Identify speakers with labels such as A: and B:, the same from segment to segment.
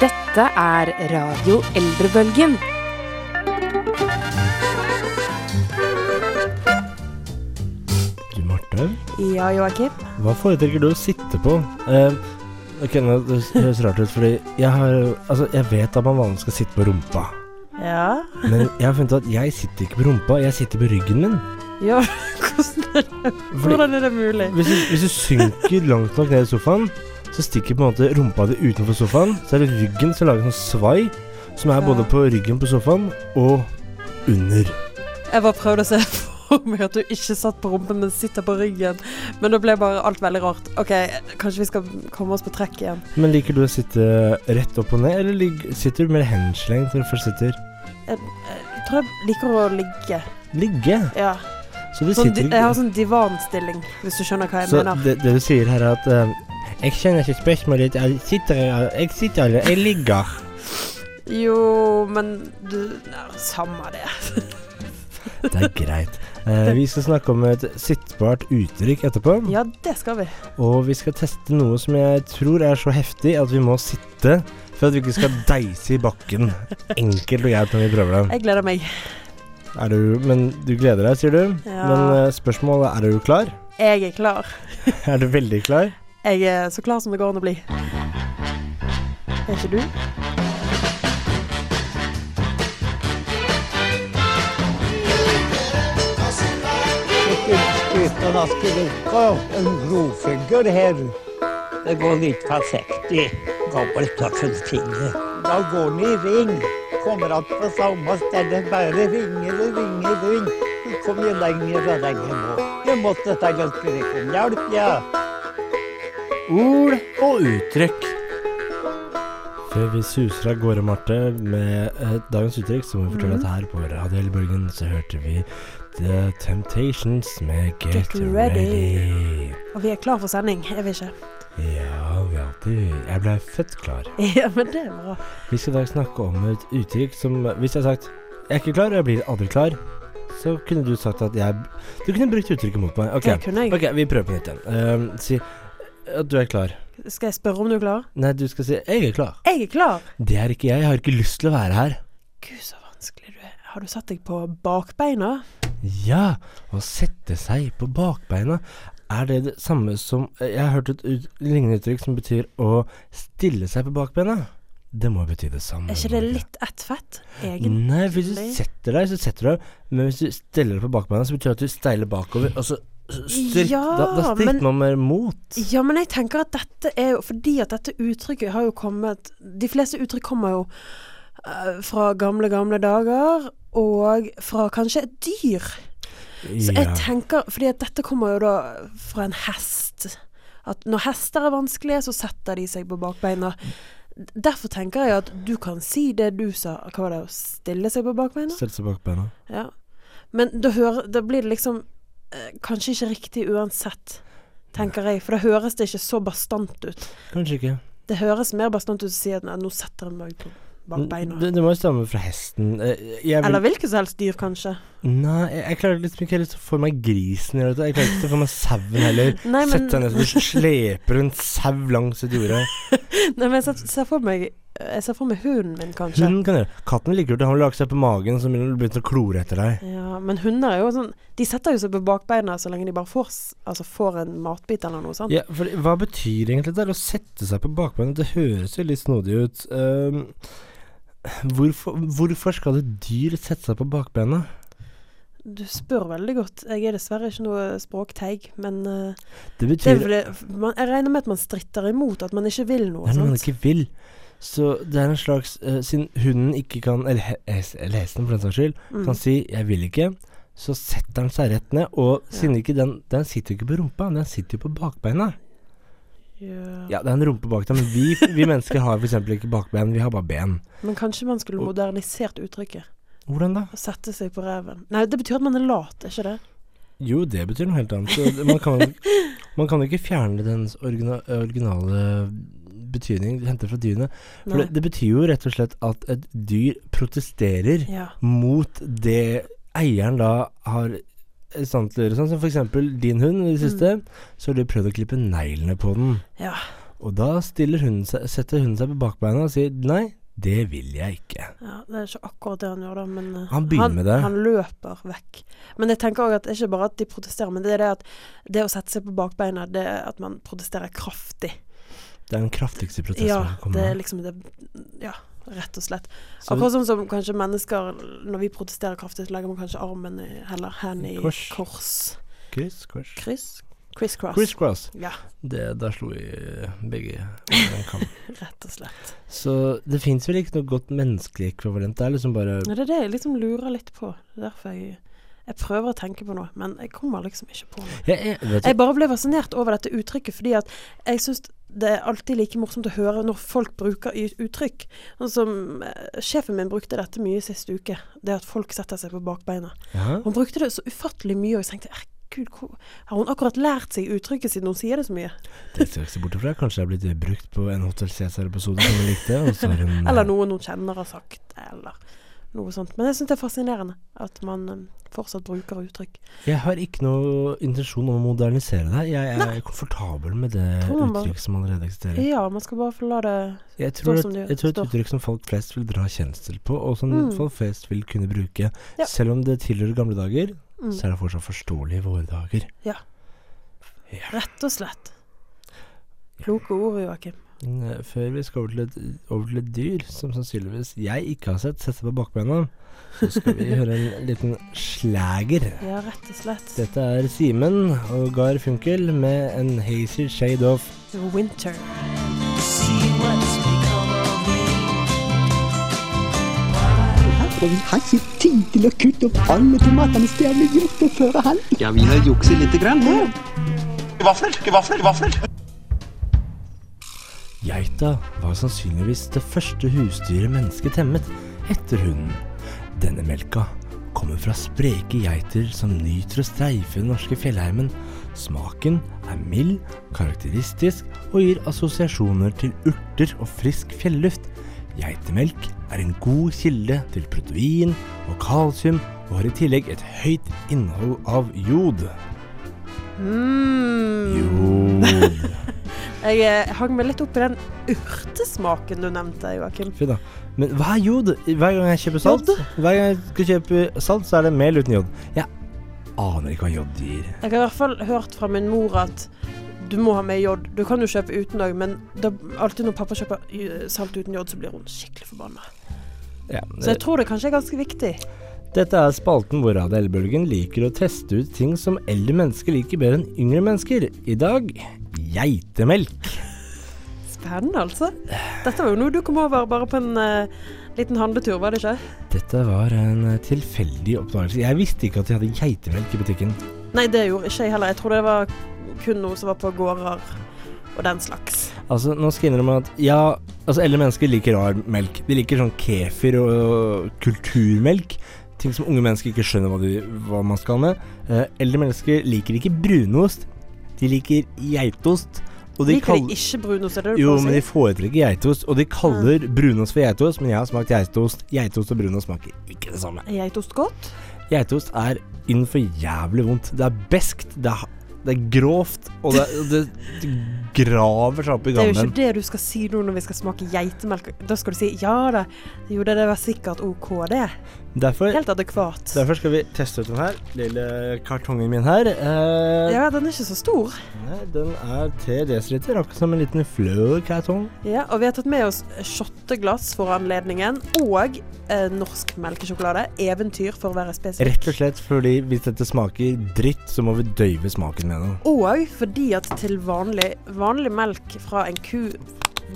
A: Dette er Radio Eldrebølgen.
B: Du, Marte,
C: Ja, Joakim.
B: hva foretrekker du å sitte på? Eh, ok, nå det høres rart ut, fordi jeg har Altså, jeg vet at man vanligvis skal sitte på rumpa.
C: Ja.
B: Men jeg har funnet ut at jeg sitter ikke på rumpa, jeg sitter på ryggen min.
C: ja. Hvordan, er det,
B: Fordi
C: hvordan er det mulig?
B: hvis du, hvis du synker langt nok ned i sofaen, så stikker på en måte rumpa di utenfor sofaen. Så er det ryggen som lager en sånn svai, som er både
C: Ja.
B: på ryggen på sofaen og under.
C: Jeg bare prøvde å se for meg at du ikke satt på rumpen, men sitter på ryggen. Men da ble bare alt veldig rart. OK, kanskje vi skal komme oss på trekk igjen.
B: Men liker du å sitte rett opp og ned, eller lig- sitter du mer henslengt når du først sitter?
C: Jeg tror jeg liker å ligge.
B: Ligge.
C: Ja.
B: Så du
C: Sånn,
B: sitter
C: di- jeg har sånn divanstilling, hvis du skjønner hva jeg
B: Så
C: mener.
B: det, det du sier her er at eh, Jeg kjenner ikke spørsmålet ditt. Jeg sitter her, jeg sitter her, jeg ligger.
C: Jo, men du ja, Samme det.
B: Det er greit. Eh, vi skal snakke om et sittbart uttrykk etterpå.
C: Ja, det skal vi.
B: Og vi skal teste noe som jeg tror er så heftig at vi må sitte for at vi ikke skal deise i bakken. Enkelt og greit når vi prøver det.
C: Jeg gleder meg.
B: Er du, men du gleder deg, sier du.
C: Ja.
B: Men eh, spørsmålet er er du klar?
C: Jeg er klar.
B: Er du veldig klar?
C: Jeg er så klar som det går an å bli. Er ikke du?
D: Utan att skrika en brofigur här. Det går lite försiktigt. Gabblet tar sin finger. Då går ni i ring. Kommer att på samma ställe bara ringer och ringer och ringer. Det kommer ju längre och längre nå. Jag måste ta en skrik om hjälp, ja.
B: Ord og uttrykk. Før vi suser av gårde, Marte, med eh, dagens uttrykk, så må vi fortelle at her på Radio Elbølgen så hørte vi The Temptations med Get,
C: Get Ready.
B: ready.
C: Og vi er klar for sending, er vi ikke?
B: Ja, vi alltid Jeg ble født klar.
C: Ja, men det er bra.
B: Vi skal i dag snakke om et uttrykk som Hvis jeg har sagt 'jeg er ikke klar', og 'jeg blir aldri klar', så kunne du sagt at jeg Du kunne brukt uttrykket mot meg.
C: Det
B: Ok,
C: kunne jeg.
B: ok, vi prøver på nytt igjen. Eh, si at du er klar.
C: Skal jeg spørre om du er klar?
B: Nei, du skal si 'jeg er klar'.
C: Jeg er klar!
B: Det er ikke jeg. Jeg har ikke lyst til å være her.
C: Gud, så vanskelig du er. Har du satt deg på bakbeina?
B: Ja, å sette seg på bakbeina. Er det det samme som Jeg har hørt et ut, lignende uttrykk som betyr å stille seg på bakbeina. Det må bety det samme.
C: Er ikke det
B: Norge.
C: litt ett fett, egentlig?
B: Nei, hvis du setter deg, så setter du deg. Men hvis du stiller deg på bakbeina, så betyr det at du steiler bakover. Og så stritt,
C: Ja,
B: da, da stritter
C: men-
B: man mer mot.
C: Ja, men jeg tenker at dette er jo Fordi at dette uttrykket har jo kommet De fleste uttrykk kommer jo eh, fra gamle, gamle dager, og fra kanskje et dyr. Så jeg tenker, fordi at dette kommer jo da fra en hest. At når hester er vanskelige, så setter de seg på bakbeina. Derfor tenker jeg at du kan si det du sa. Hva var det, å stille seg på bakbeina?
B: Sette seg på bakbeina.
C: Ja. Men da, hører, da blir det liksom eh, kanskje ikke riktig uansett, tenker jeg. For da høres det ikke så bastant ut.
B: Kanskje ikke.
C: Det høres mer bastant ut å si at nei, nå setter jeg meg på bakbeina.
B: Det, det må jo stamme fra hesten. Eh, Jeg vil
C: Eller hvilket som helst dyr, kanskje.
B: Nei, jeg, jeg klarer liksom ikke helt å få meg grisen eller noe. Jeg klarer ikke til å få meg sauen heller.
C: Nei, men-
B: Sett deg ned og sleper en sau langs et jorde.
C: Nei, men jeg ser, ser for meg eh, Jeg ser for meg hunden min, kanskje.
B: Hunden kan gjøre Katten ligger ute, han lager seg på magen, så begynner den begynner å klore etter deg.
C: Ja, men hunder er jo sånn De setter jo seg på bakbeina så lenge de bare får, s- altså får en matbit eller noe sånt.
B: Ja, for hva betyr egentlig det der å sette seg på bakbeina? Det høres jo litt snodig ut. Ehm, hvorfor, hvorfor skal et dyr sette seg på bakbeina?
C: Du spør veldig godt. Jeg er dessverre ikke noe språkteig, men eh,
B: Det
C: det er
B: betyr
C: vel det- man, jeg regner med at man stritter imot, at man ikke vil noe.
B: Det er noe man
C: sant?
B: ikke vil. Så det er en slags eh, Siden hunden ikke kan, eller, he- hes- eller hesten for den saks skyld,
C: Mm.
B: kan si 'jeg vil ikke', så setter den seg rett ned. Og siden ikke den Den sitter jo ikke på rumpa, den sitter jo på bakbeina.
C: Ja.
B: Ja, det er en rumpe bak deg, men vi, vi mennesker har f.eks. ikke bakbein, vi har bare ben.
C: Men kanskje man skulle modernisert uttrykket.
B: Hvordan da?
C: Å sette seg på reven. Nei, det betyr at man er lat, er ikke det?
B: Jo, det betyr noe helt annet. Så det- Man kan, man kan jo ikke fjerne dens origina, originale betydning, hente fra dyrene. For
C: Nei.
B: det, det betyr jo rett og slett at et dyr protesterer.
C: Ja.
B: mot det eieren da har stand til å gjøre. Sånn som for eksempel din hund i det
C: Mm.
B: siste, så har du prøvd å klippe neglene på den.
C: ja.
B: Og da stiller hunden seg, setter hunden seg på bakbeina og sier nei, Det vil jeg ikke.
C: Ja, det er ikke akkurat det han gjør, da, men eh,
B: Han begynner med det.
C: han løper vekk. Men jeg tenker også at det er ikke bare at de protesterer, men det er det at det å sette seg på bakbeina, det er at man protesterer kraftig.
B: Det er den kraftigste protesten
C: Ja,
B: jeg kan komme
C: det er
B: med.
C: liksom det Ja, rett og slett.
B: Så-
C: Akkurat sånn som kanskje mennesker, når vi protesterer kraftig, så legger man kanskje armen i Eller hendene i
B: Kors.
C: kors.
B: Criss cross.
C: Kryss? Criss cross.
B: Criss cross.
C: Ja,
B: Det, der slo vi begge over en kam.
C: rett og slett.
B: Så det fins vel ikke noe godt menneskelig ekvivalent. Det er liksom bare
C: Ja, det er det jeg liksom lurer litt på. Det er derfor jeg Jeg prøver å tenke på noe, men jeg kommer liksom ikke på noe.
B: jeg, jeg, vet du,
C: Jeg bare ble fascinert over dette uttrykket, fordi at jeg syns det er alltid like morsomt å høre når folk bruker y- uttrykk. Sånn som eh, sjefen min brukte dette mye sist uke. Det at folk setter seg på bakbeina.
B: ja,
C: Hun brukte det så ufattelig mye, og jeg tenkte herregud, hvor- har hun akkurat lært seg uttrykket siden hun sier det så mye?
B: det ser jeg ikke så bort ifra. Kanskje det er blitt brukt på en Hotel Cæsar-episode som hun likte. Og så har hun,
C: Eller noe hun kjenner har sagt, eller noe sånt. Men jeg syns det er fascinerende at man eh, fortsatt bruker uttrykk.
B: Jeg har ikke noe intensjon om å modernisere det. Jeg er komfortabel med det
C: Tror man bare-
B: uttrykk som allerede eksisterer.
C: Ja, man skal bare få la det
B: Jeg tror,
C: som
B: at,
C: det
B: jeg tror et
C: står.
B: uttrykk som folk flest vil dra kjensel på, og som
C: Mm.
B: folk flest vil kunne bruke.
C: Ja.
B: Selv om det tilhører gamle dager,
C: Mm.
B: så er det fortsatt forståelig i våre dager.
C: Rett og slett. Kloke ord, Joakim.
B: Eh, Før vi skal over til, et, over til et dyr som sannsynligvis jeg ikke har sett, sette på bakbeina, så skal vi høre en liten slager.
C: Ja, rett og slett.
B: Dette er Simen og Gar Funkel med en hazy shade of
C: Winter.
E: Og vi har ikke tid til å kutte opp alle tomatene stjerne gjort og føre han.
F: Ja, vi har jukset lite grann her.
B: Geita var sannsynligvis det første husdyret mennesket temmet etter hunden. Denne melka kommer fra spreke geiter som nyter å streife den norske fjellheimen. Smaken er mild, karakteristisk og gir assosiasjoner til urter og frisk fjelluft. Geitemelk er en god kilde til protein og kalsium, og har i tillegg et høyt innhold av jod. Jod.
C: Mm. Jeg eh, hang meg litt opp i den urtesmaken du nevnte, Joakim.
B: Fy da. Men hva er jod? Hver gang jeg kjøper salt,
C: Jod?
B: Hver gang jeg skal kjøpe salt, så er det mel uten jod. Jeg aner ikke hva jod gir.
C: Jeg har i hvert fall hørt fra min mor at du må ha med jod. Du kan jo kjøpe uten òg, men da, alltid når pappa kjøper eh, salt uten jod, så blir hun skikkelig forbanna.
B: Ja,
C: Så jeg tror det kanskje er ganske viktig.
B: Dette er spalten hvor ADL-bølgen liker å teste ut ting som eldre mennesker liker bedre enn yngre mennesker. I dag geitemelk.
C: Spennende, altså. Dette var jo noe du kom over bare på en eh, liten handletur, var det ikke?
B: Dette var en eh, tilfeldig oppdagelse. Jeg visste ikke at de hadde geitemelk i butikken.
C: Nei, det gjorde ikke jeg heller. Jeg tror det var kun noe som var på gårder og den slags.
B: Altså, nå skal jeg innrømme at ja, altså eldre mennesker liker rar melk. De liker sånn kefir og kulturmelk. Ting som unge mennesker ikke skjønner hva, de, hva man skal med. Eh, eldre mennesker liker ikke brunost. De liker geitost. Og de
C: Liker
B: kaller-
C: de ikke brunost, er det du
B: jo,
C: prøver å
B: men de
C: si?
B: foretrekker geitost, og de kaller brunost for geitost, men jeg har smakt geitost. Geitost og brunost smaker ikke det samme.
C: Er geitost godt?
B: Geitost er innenfor jævlig vondt. Det er beskt, det er, det er grovt, og det, og det, det graver seg opp i
C: Det er jo
B: gammen.
C: ikke det du skal si nå når vi skal smake geitemelk. Da skal du si ja da, jo det, det var sikkert OK, det.
B: Derfor
C: Helt adekvat.
B: Derfor skal vi teste ut den her. Lille kartongen min her. Eh,
C: Ja, den er ikke så stor.
B: nei, den er 3 dl, akkurat som en liten fløkartong.
C: Ja, og vi har tatt med oss shotteglass for anledningen, og eh, norsk melkesjokolade. Eventyr, for å være spesifikk.
B: Rett og slett fordi hvis dette smaker dritt, så må vi døyve smaken med noe.
C: Og fordi at til vanlig, vanlig melk fra en ku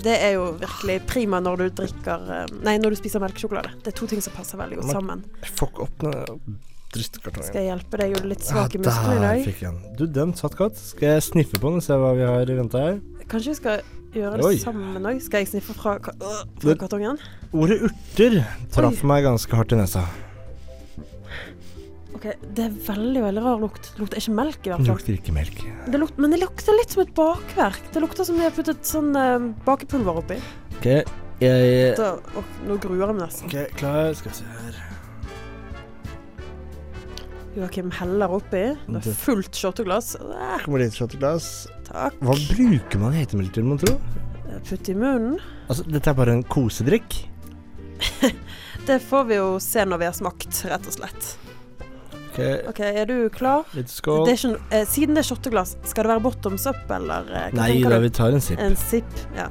C: det er jo virkelig prima når du drikker eh, Nei, når du spiser melkesjokolade. Det er to ting som passer veldig godt
B: Men-
C: sammen.
B: Fuck opp den
C: Skal
B: drittkartongen.
C: jeg hjelpe deg? Er du litt
B: Ah,
C: svak i musklene i
B: der
C: dag?
B: fikk jeg den. Du, den satt godt. Skal jeg sniffe på den og se hva vi har i vente her?
C: Kanskje vi skal gjøre det
B: Oi.
C: sammen òg? Skal jeg sniffe fra, ka- øh, fra
B: Det-
C: kartongen?
B: Ordet urter traff meg ganske hardt i nesa.
C: OK, det er veldig, veldig rar lukt. Det lukter ikke melk, i
B: Den
C: hvert fall.
B: lukter ikke melk.
C: Det luk men det lukter litt som et bakverk. Det lukter som vi har puttet sånn eh, bakepulver oppi.
B: Ok, jeg
C: Da, og, nå gruer jeg meg nesten.
B: Ok, klar. Skal vi se her.
C: Joakim heller oppi. Det
B: Det-
C: er fullt shotteglass. Eh,
B: Kommer det et shotteglass?
C: Takk.
B: Hva bruker man i heitemelk til, mon tro?
C: Putt i munnen.
B: Altså, dette er bare en kosedrikk.
C: Det får vi jo se når vi har smakt, rett og slett.
B: Ok,
C: OK, er du klar?
B: litt
C: Det
B: skål.
C: er ikke, no- eh, siden det er shotteglass, skal det være bottoms up, eller? eh, Hva
B: Nei
C: tenker
B: da,
C: du?
B: vi tar en sipp.
C: En sipp. Ja,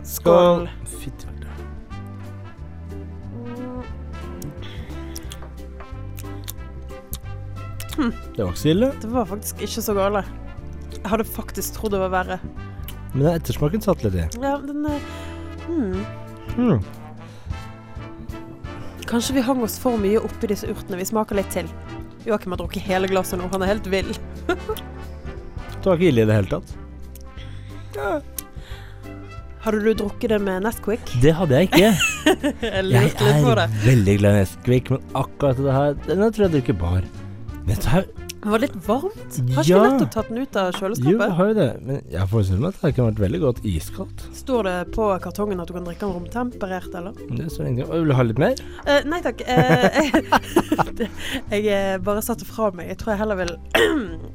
B: Skål.
C: skål.
B: Fytti helvete.
C: Hmm.
B: Det var ikke så ille,
C: Det var faktisk ikke så gale. Jeg hadde faktisk trodd det var verre.
B: men ettersmaken satt litt i.
C: Ja, den eh, hmm.
B: Hmm.
C: Kanskje vi hang oss for mye oppi disse urtene. Vi smaker litt til. Joakim har drukket hele glasset nå. Han er helt vill.
B: Det var ikke ille i det hele tatt.
C: Hadde du drukket det med Nesquik?
B: Det hadde jeg ikke.
C: Jeg
B: Jeg
C: lurte litt på
B: er
C: det.
B: veldig glad i Nesquik, men akkurat det her Den her tror jeg drikker bar. Dette her
C: Den var litt varmt. Har ikke
B: Ja.
C: vi nettopp tatt den ut av
B: Jo, jeg
C: kjøleskapet?
B: har jo det. Men jeg forestiller meg at det her kunne vært veldig godt iskaldt.
C: Står det på kartongen at du kan drikke den romtemperert, eller?
B: Det står ingenting om. Vil du ha litt mer?
C: Eh, nei takk. Eh, jeg, jeg eh, bare satte fra meg. Jeg tror jeg heller vil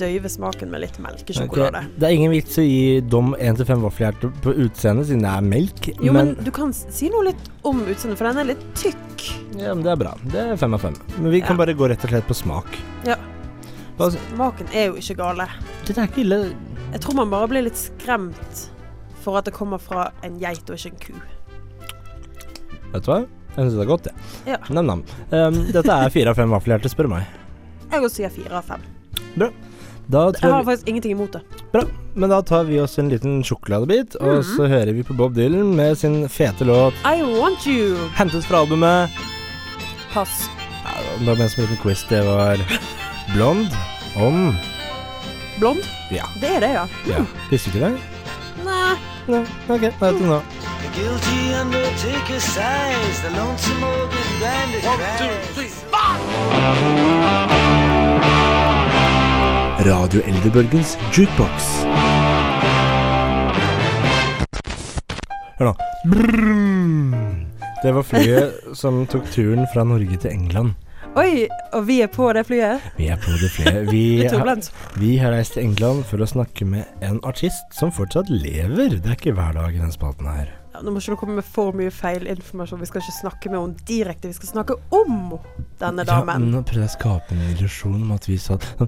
C: døyve smaken med litt melkesjokolade.
B: Ok, Det er ingen vits å gi Dom 1-5 vaffelhjerter på utseendet siden det er melk,
C: Jo, men,
B: men,
C: du kan s- si noe litt om utseendet, for den er litt tykk.
B: ja, men det er bra. Det er fem av fem. Men vi
C: Ja.
B: kan bare gå rett og slett på smak.
C: Ja.
B: Hva-
C: Smaken er jo ikke gale.
B: Dette er ikke ille.
C: Jeg tror man bare blir litt skremt for at det kommer fra en geit og ikke en ku.
B: Vet du hva? Jeg syns det er godt, jeg.
C: Ja.
B: Nam-nam. Um, dette er fire av fem vaffelhjerter, spør du meg.
C: Jeg også sier fire av fem.
B: Da
C: Jeg
B: tror
C: har
B: jeg,
C: faktisk ingenting imot det.
B: men da tar vi oss en liten sjokoladebit, og
C: Mhm.
B: så hører vi på Bob Dylan med sin fete låt
C: I want you!
B: hentet fra albumet
C: Pass.
B: Ja, Det var mens en liten quiz. Det var Blond om
C: Blond?
B: Ja.
C: Det er det, ja.
B: Ja, visste du ikke det?
C: Nei.
B: Nei, ok, da vet du nå.
G: Radio Eldrebølgens jukebox.
B: Hør nå. Brrrr. Det var flyet som tok turen fra Norge til England.
C: Oi, og vi er på det flyet.
B: Vi er på det flyet. Vi,
C: Litt
B: har-
C: turbulens.
B: vi har reist til England for å snakke med en artist som fortsatt lever. Det er ikke hver dag i den spalten her.
C: Ja, nå må ikke du komme med for mye feil informasjon. Vi skal ikke snakke med henne direkte, vi skal snakke om denne damen.
B: nå prøvde jeg å skape en illusjon om at vi satt
C: Ja,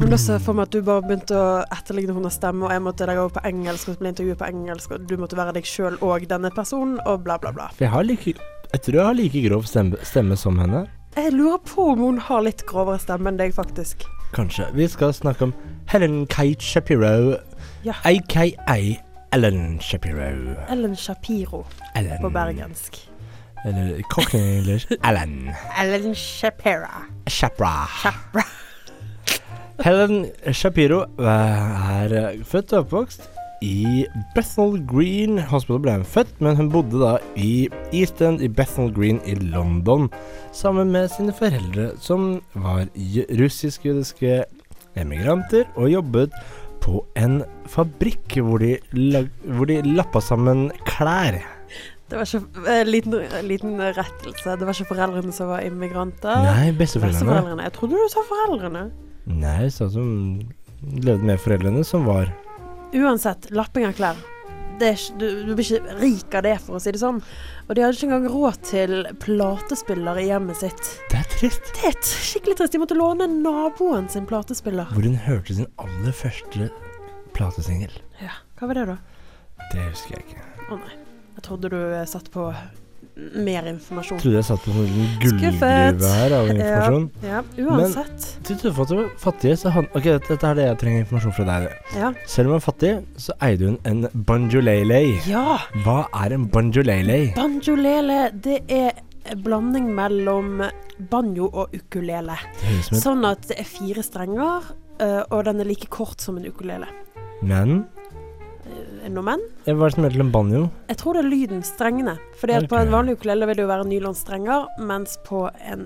C: men da ser jeg for meg at du bare begynte å etterligne hennes stemme, og jeg måtte legge over på engelsk, og så ble intervjuet på engelsk, og du måtte være deg sjøl og denne personen, og bla, bla, bla.
B: For jeg har like Jeg tror jeg har like grov stemme, stemme som henne.
C: Jeg lurer på om hun har litt grovere stemme enn deg, faktisk.
B: Kanskje. Vi skal snakke om Helen Kate Shapiro,
C: Ja.
B: aka Ellen Shapiro.
C: Ellen Shapiro
B: Ellen.
C: på bergensk.
B: Eller Cockney English. Ellen
C: Ellen Shapira.
B: Shapra. Helen Shapiro eh, er eh, født og oppvokst i Bethnal Green Hospital ble hun født, men hun bodde da i East End i Bethnal Green i London sammen med sine foreldre, som var jø- russisk-jødiske emigranter og jobbet på en fabrikk hvor de, lag, hvor de lappa sammen klær.
C: Det var ikke eh, liten, liten rettelse. Det var ikke foreldrene som var immigranter.
B: Nei, besteforeldrene.
C: Ah, Besteforeldrene. Jeg trodde du sa foreldrene.
B: Nei, sånn som levde med foreldrene, som var
C: Uansett, lapping av klær. Det er ikke, du, du blir ikke rik av det, for å si det sånn. Og de hadde ikke engang råd til platespiller i hjemmet sitt.
B: Det er trist.
C: Det er t- skikkelig trist. De måtte låne naboen sin platespiller.
B: Hvor hun hørte sin aller første platesingel.
C: Ja, Hva var det, da?
B: Det husker jeg ikke.
C: Å nei. Jeg trodde du eh, satt på mer informasjon.
B: Trodde jeg satt på en liten
C: Skuffet.
B: gullgruve her av informasjon.
C: Ja, uansett.
B: Til tross for at du var fattig, så han Ok, dette dette er det jeg trenger informasjon fra deg. det.
C: Ja.
B: Selv om hun var fattig, så eide hun en banjolele.
C: ja.
B: Hva er en banjolele?
C: Banjolele, det er en blanding mellom banjo og ukulele.
B: Det høres ut som
C: Sånn at det er fire strenger, eh, og den er like kort som en ukulele.
B: et Men
C: Er det noe men?
B: eh, hva er det som heter en banjo?
C: Jeg tror det er lyden, strengene. Fordi at på
B: Ok.
C: en vanlig ukulele vil det jo være nylonstrenger, mens på en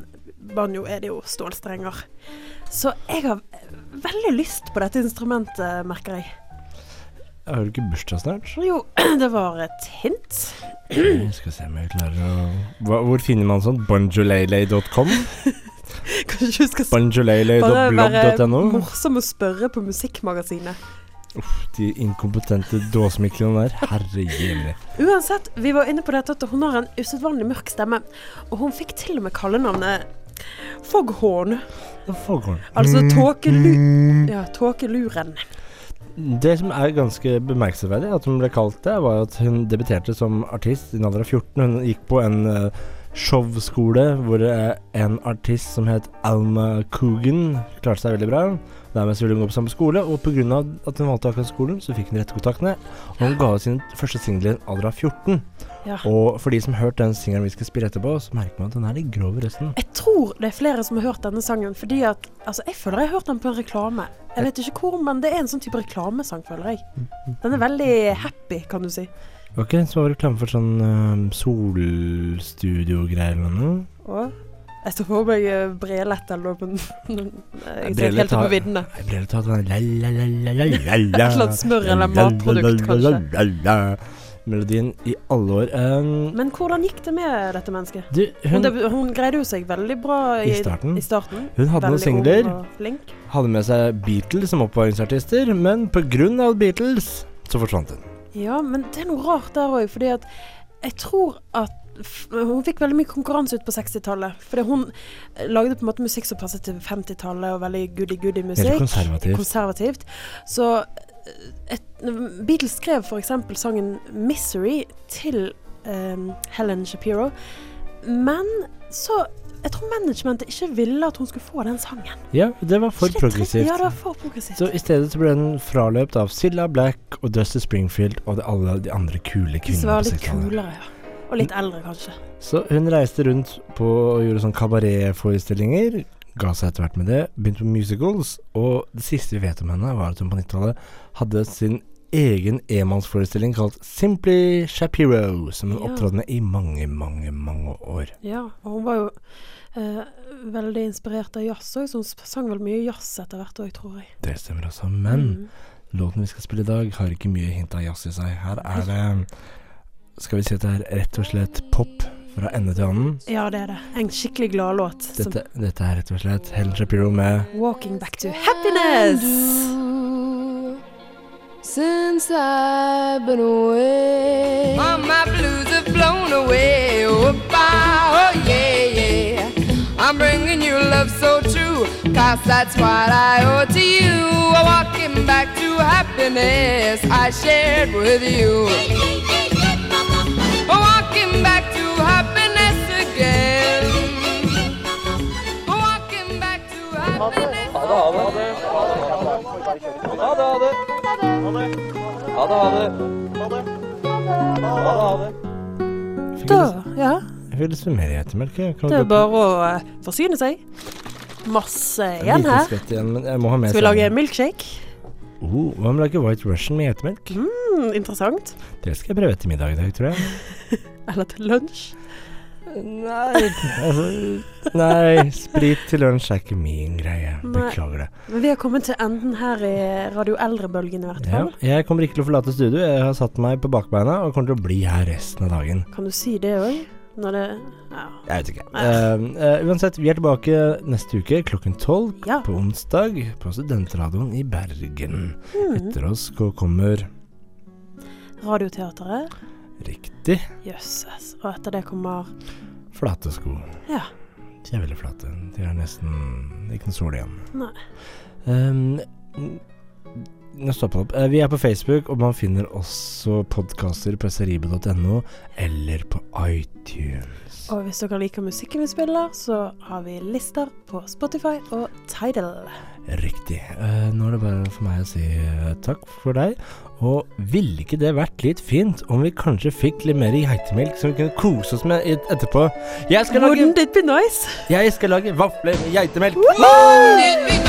C: banjo er det jo stålstrenger. Så jeg har veldig lyst på dette instrumentet, merker jeg.
B: Har du ikke bursdag snart?
C: Jo, det var et hint.
B: Jeg skal se om jeg klarer å hva, Hvor finner man sånn? Banjolele.com?
C: Kanskje du skal
B: Banjolele.blog.no?
C: morsom å spørre på Musikkmagasinet.
B: De inkompetente dåsemiklene der. Herre jemini.
C: Uansett, vi var inne på dette at hun har en usedvanlig mørk stemme. Og hun fikk til og med kallenavnet Foghorn.
B: Foghorn.
C: Altså tåkelu... Ja, tåkeluren.
B: Det som er ganske bemerkelsesverdig, at hun ble kalt det, var jo at hun debuterte som artist i en alder av 14. Hun gikk på en eh, showskole hvor eh, en artist som het Alma Coogan klarte seg veldig bra. Dermed så ville hun gå på samme skole, og pga. at hun valgte akkurat skolen, så fikk hun de rette kontaktene. Og hun ga ut sin første singel i en alder av 14.
C: Ja.
B: Og for de som hørte den singelen vi skal spille etterpå, så merker man at den er litt grov i røsten.
C: Jeg tror det er flere som har hørt denne sangen, fordi at Altså, jeg føler jeg har hørt den på en reklame. Jeg vet ikke hvor, men det er en sånn type reklamesang, føler jeg. Den er veldig happy, kan du si.
B: Var ikke en som var reklame for sånn eh, solstudio-greier eller noe?
C: Og jeg står for meg eh, Brelett eller noe, men eh, jeg ser
B: Brelett
C: helt
B: har-
C: på viddene.
B: Jeg ble litt sånn tatt av den la-la-la-la-la-la
C: Et eller annet smør eller matprodukt, kanskje.
B: Melodien i alle år. Um,
C: Men hvordan gikk det med dette mennesket?
B: du,
C: Hun,
B: hun,
C: debu- hun greide jo seg veldig bra i,
B: I starten.
C: I starten.
B: hun hadde noen
C: Veldig ung
B: singler.
C: og flink.
B: Hadde med seg Beatles som oppvarmingsartister, men pga. Beatles så forsvant hun.
C: Ja, men det er noe rart der òg, fordi at jeg tror at f- hun fikk veldig mye konkurranse ut på 60-tallet. Fordi hun eh, lagde på en måte musikk som passet til 50-tallet, og veldig goody-goody
B: Veldig
C: musikk.
B: konservativ.
C: Konservativt. Så eh, et, Beatles skrev f.eks. sangen 'Misery' til eh, Helen Shapiro, men så Jeg tror managementet ikke ville at hun skulle få den sangen.
B: Ja, det var for
C: Litt trist.
B: progressivt.
C: Ja, det var for progressivt.
B: Så i stedet så ble hun fraløpt av Silla Black og Dusty Springfield og de, alle de andre kule
C: De
B: kvinnene
C: som var
B: på
C: litt
B: 60-tallet.
C: kulere, ja. Og litt eldre, kanskje.
B: Så hun reiste rundt på og gjorde sånn kabaretforestillinger. Ga seg etter hvert med det. Begynte på musicals. Og det siste vi vet om henne, var at hun på 90-tallet hadde sin egen enmannsforestilling kalt Simply Shapiro, som hun
C: Ja.
B: opptrådte med i mange, mange, mange år.
C: Ja, og hun var jo eh, veldig inspirert av jazz òg, så hun sp- sang vel mye jazz etter hvert òg, tror jeg.
B: Det stemmer også. Men
C: Mm.
B: låten vi skal spille i dag, har ikke mye hint av jazz i seg. Her er det Skal vi si at det er rett og slett pop fra ende til annen?
C: Ja, det er det. En skikkelig gladlåt. som
B: Dette, dette er rett og slett Helen Shapiro med
C: 'Walking Back to Happiness'.
H: Since I've been away, all my blues have blown away. Oh, bye, oh yeah, yeah. I'm bringing you love so true, cause that's what I owe to you. Walking back to happiness I shared with you. Walking back to happiness again. Walking back to happiness.
C: Da, ja.
B: Jeg vil summere ettermelke. Kan
C: Det
B: vi
C: er bare å eh, forsyne seg. Masse igjen
B: Liten
C: her.
B: skvett igjen, men jeg må ha med
C: Skal vi lage en milkshake?
B: Oh, hva med å lage White Russian med hjetemelk?
C: Mm, interessant.
B: Det skal jeg prøve etter middag i dag, tror jeg.
C: Eller til lunsj.
B: Nei altså, Nei, sprit til lunsj er ikke min greie.
C: Nei.
B: Beklager det.
C: Men vi har kommet til enden her i Radio Eldrebølgen, i hvert
B: Ja,
C: fall.
B: jeg kommer ikke til å forlate studio. Jeg har satt meg på bakbeina og kommer til å bli her resten av dagen.
C: Kan du si det òg? Når det ja.
B: Jeg vet ikke.
C: Nei.
B: Eh, eh, uansett, vi er tilbake neste uke klokken tolv
C: Ja.
B: på onsdag på Studentradioen i Bergen.
C: Mm.
B: Etter oss kommer
C: Radioteateret.
B: riktig
C: Jøsses. Og etter det kommer
B: flate sko.
C: Ja.
B: De er veldig flate. De er nesten ikke noe sol igjen.
C: Nei.
B: Ehm, n- nå stopper det opp. Eh, Vi er på Facebook, og man finner også podkaster på seribe.no eller på iTunes.
C: Og hvis dere liker musikken vi spiller, så har vi lister på Spotify og Tidal.
B: Riktig. Eh, nå er det bare for meg å si eh, takk for deg. Og ville ikke det vært litt fint om vi kanskje fikk litt mer geitemelk som vi kunne kose oss med et- etterpå? Jeg skal lage,
C: Wouldn't it be nice?
B: jeg skal lage vafler med geitemelk!
H: Did we